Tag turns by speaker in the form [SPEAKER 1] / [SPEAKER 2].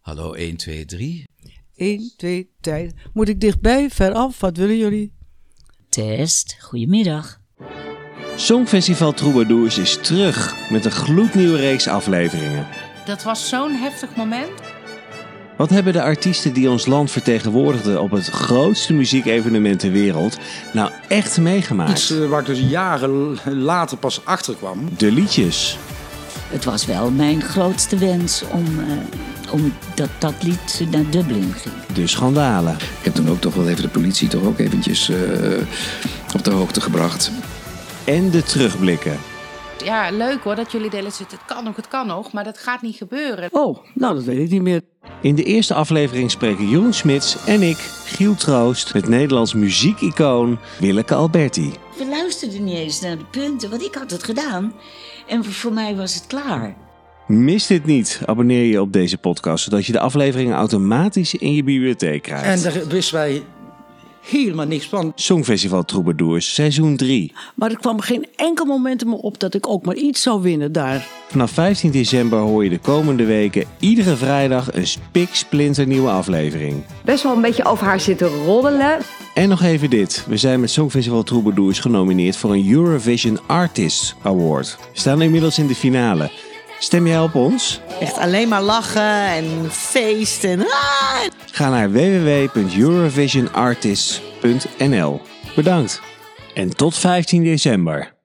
[SPEAKER 1] Hallo 1, 2, 3.
[SPEAKER 2] 1, 2, tijd. Moet ik dichtbij, veraf? Wat willen jullie?
[SPEAKER 3] Test, goedemiddag.
[SPEAKER 4] Songfestival Troubadours is terug met een gloednieuwe reeks afleveringen.
[SPEAKER 5] Dat was zo'n heftig moment.
[SPEAKER 4] Wat hebben de artiesten die ons land vertegenwoordigden op het grootste muziekevenement ter wereld nou echt
[SPEAKER 6] Iets
[SPEAKER 4] meegemaakt?
[SPEAKER 6] eh, waar ik dus jaren later pas achter kwam.
[SPEAKER 4] De liedjes.
[SPEAKER 3] Het was wel mijn grootste wens om, eh, om dat, dat lied naar Dublin ging.
[SPEAKER 4] De schandalen.
[SPEAKER 7] Ik heb toen ook toch wel even de politie toch ook eventjes eh, op de hoogte gebracht.
[SPEAKER 4] En de terugblikken.
[SPEAKER 5] Ja, leuk hoor dat jullie delen zitten. Het kan nog, het kan nog, maar dat gaat niet gebeuren.
[SPEAKER 2] Oh, nou, dat weet ik niet meer.
[SPEAKER 4] In de eerste aflevering spreken Jeroen Smits en ik, Giel Troost, het Nederlands muziekicoon Willeke Alberti.
[SPEAKER 3] We luisterden niet eens naar de punten, want ik had het gedaan. En voor mij was het klaar.
[SPEAKER 4] Mis dit niet. Abonneer je op deze podcast, zodat je de afleveringen automatisch in je bibliotheek
[SPEAKER 6] En
[SPEAKER 4] krijgt.
[SPEAKER 6] daar wisten wij helemaal niks van.
[SPEAKER 4] Songfestival Troubadours, seizoen 3.
[SPEAKER 2] Maar er kwam geen enkel moment in me op dat ik ook maar iets zou winnen daar.
[SPEAKER 4] Vanaf 15 december hoor je de komende weken iedere vrijdag een spiksplinternieuwe aflevering.
[SPEAKER 8] best wel een beetje over haar zitten roddelen.
[SPEAKER 4] En nog even dit. We zijn met Songfestival Troubadours genomineerd voor een Eurovision Artist Award. We staan inmiddels in de finale. Stem jij op ons?
[SPEAKER 9] Echt alleen maar lachen en feesten. Ah!
[SPEAKER 4] Ga naar www.eurovisionartists.nl. Bedankt. En tot 15 december.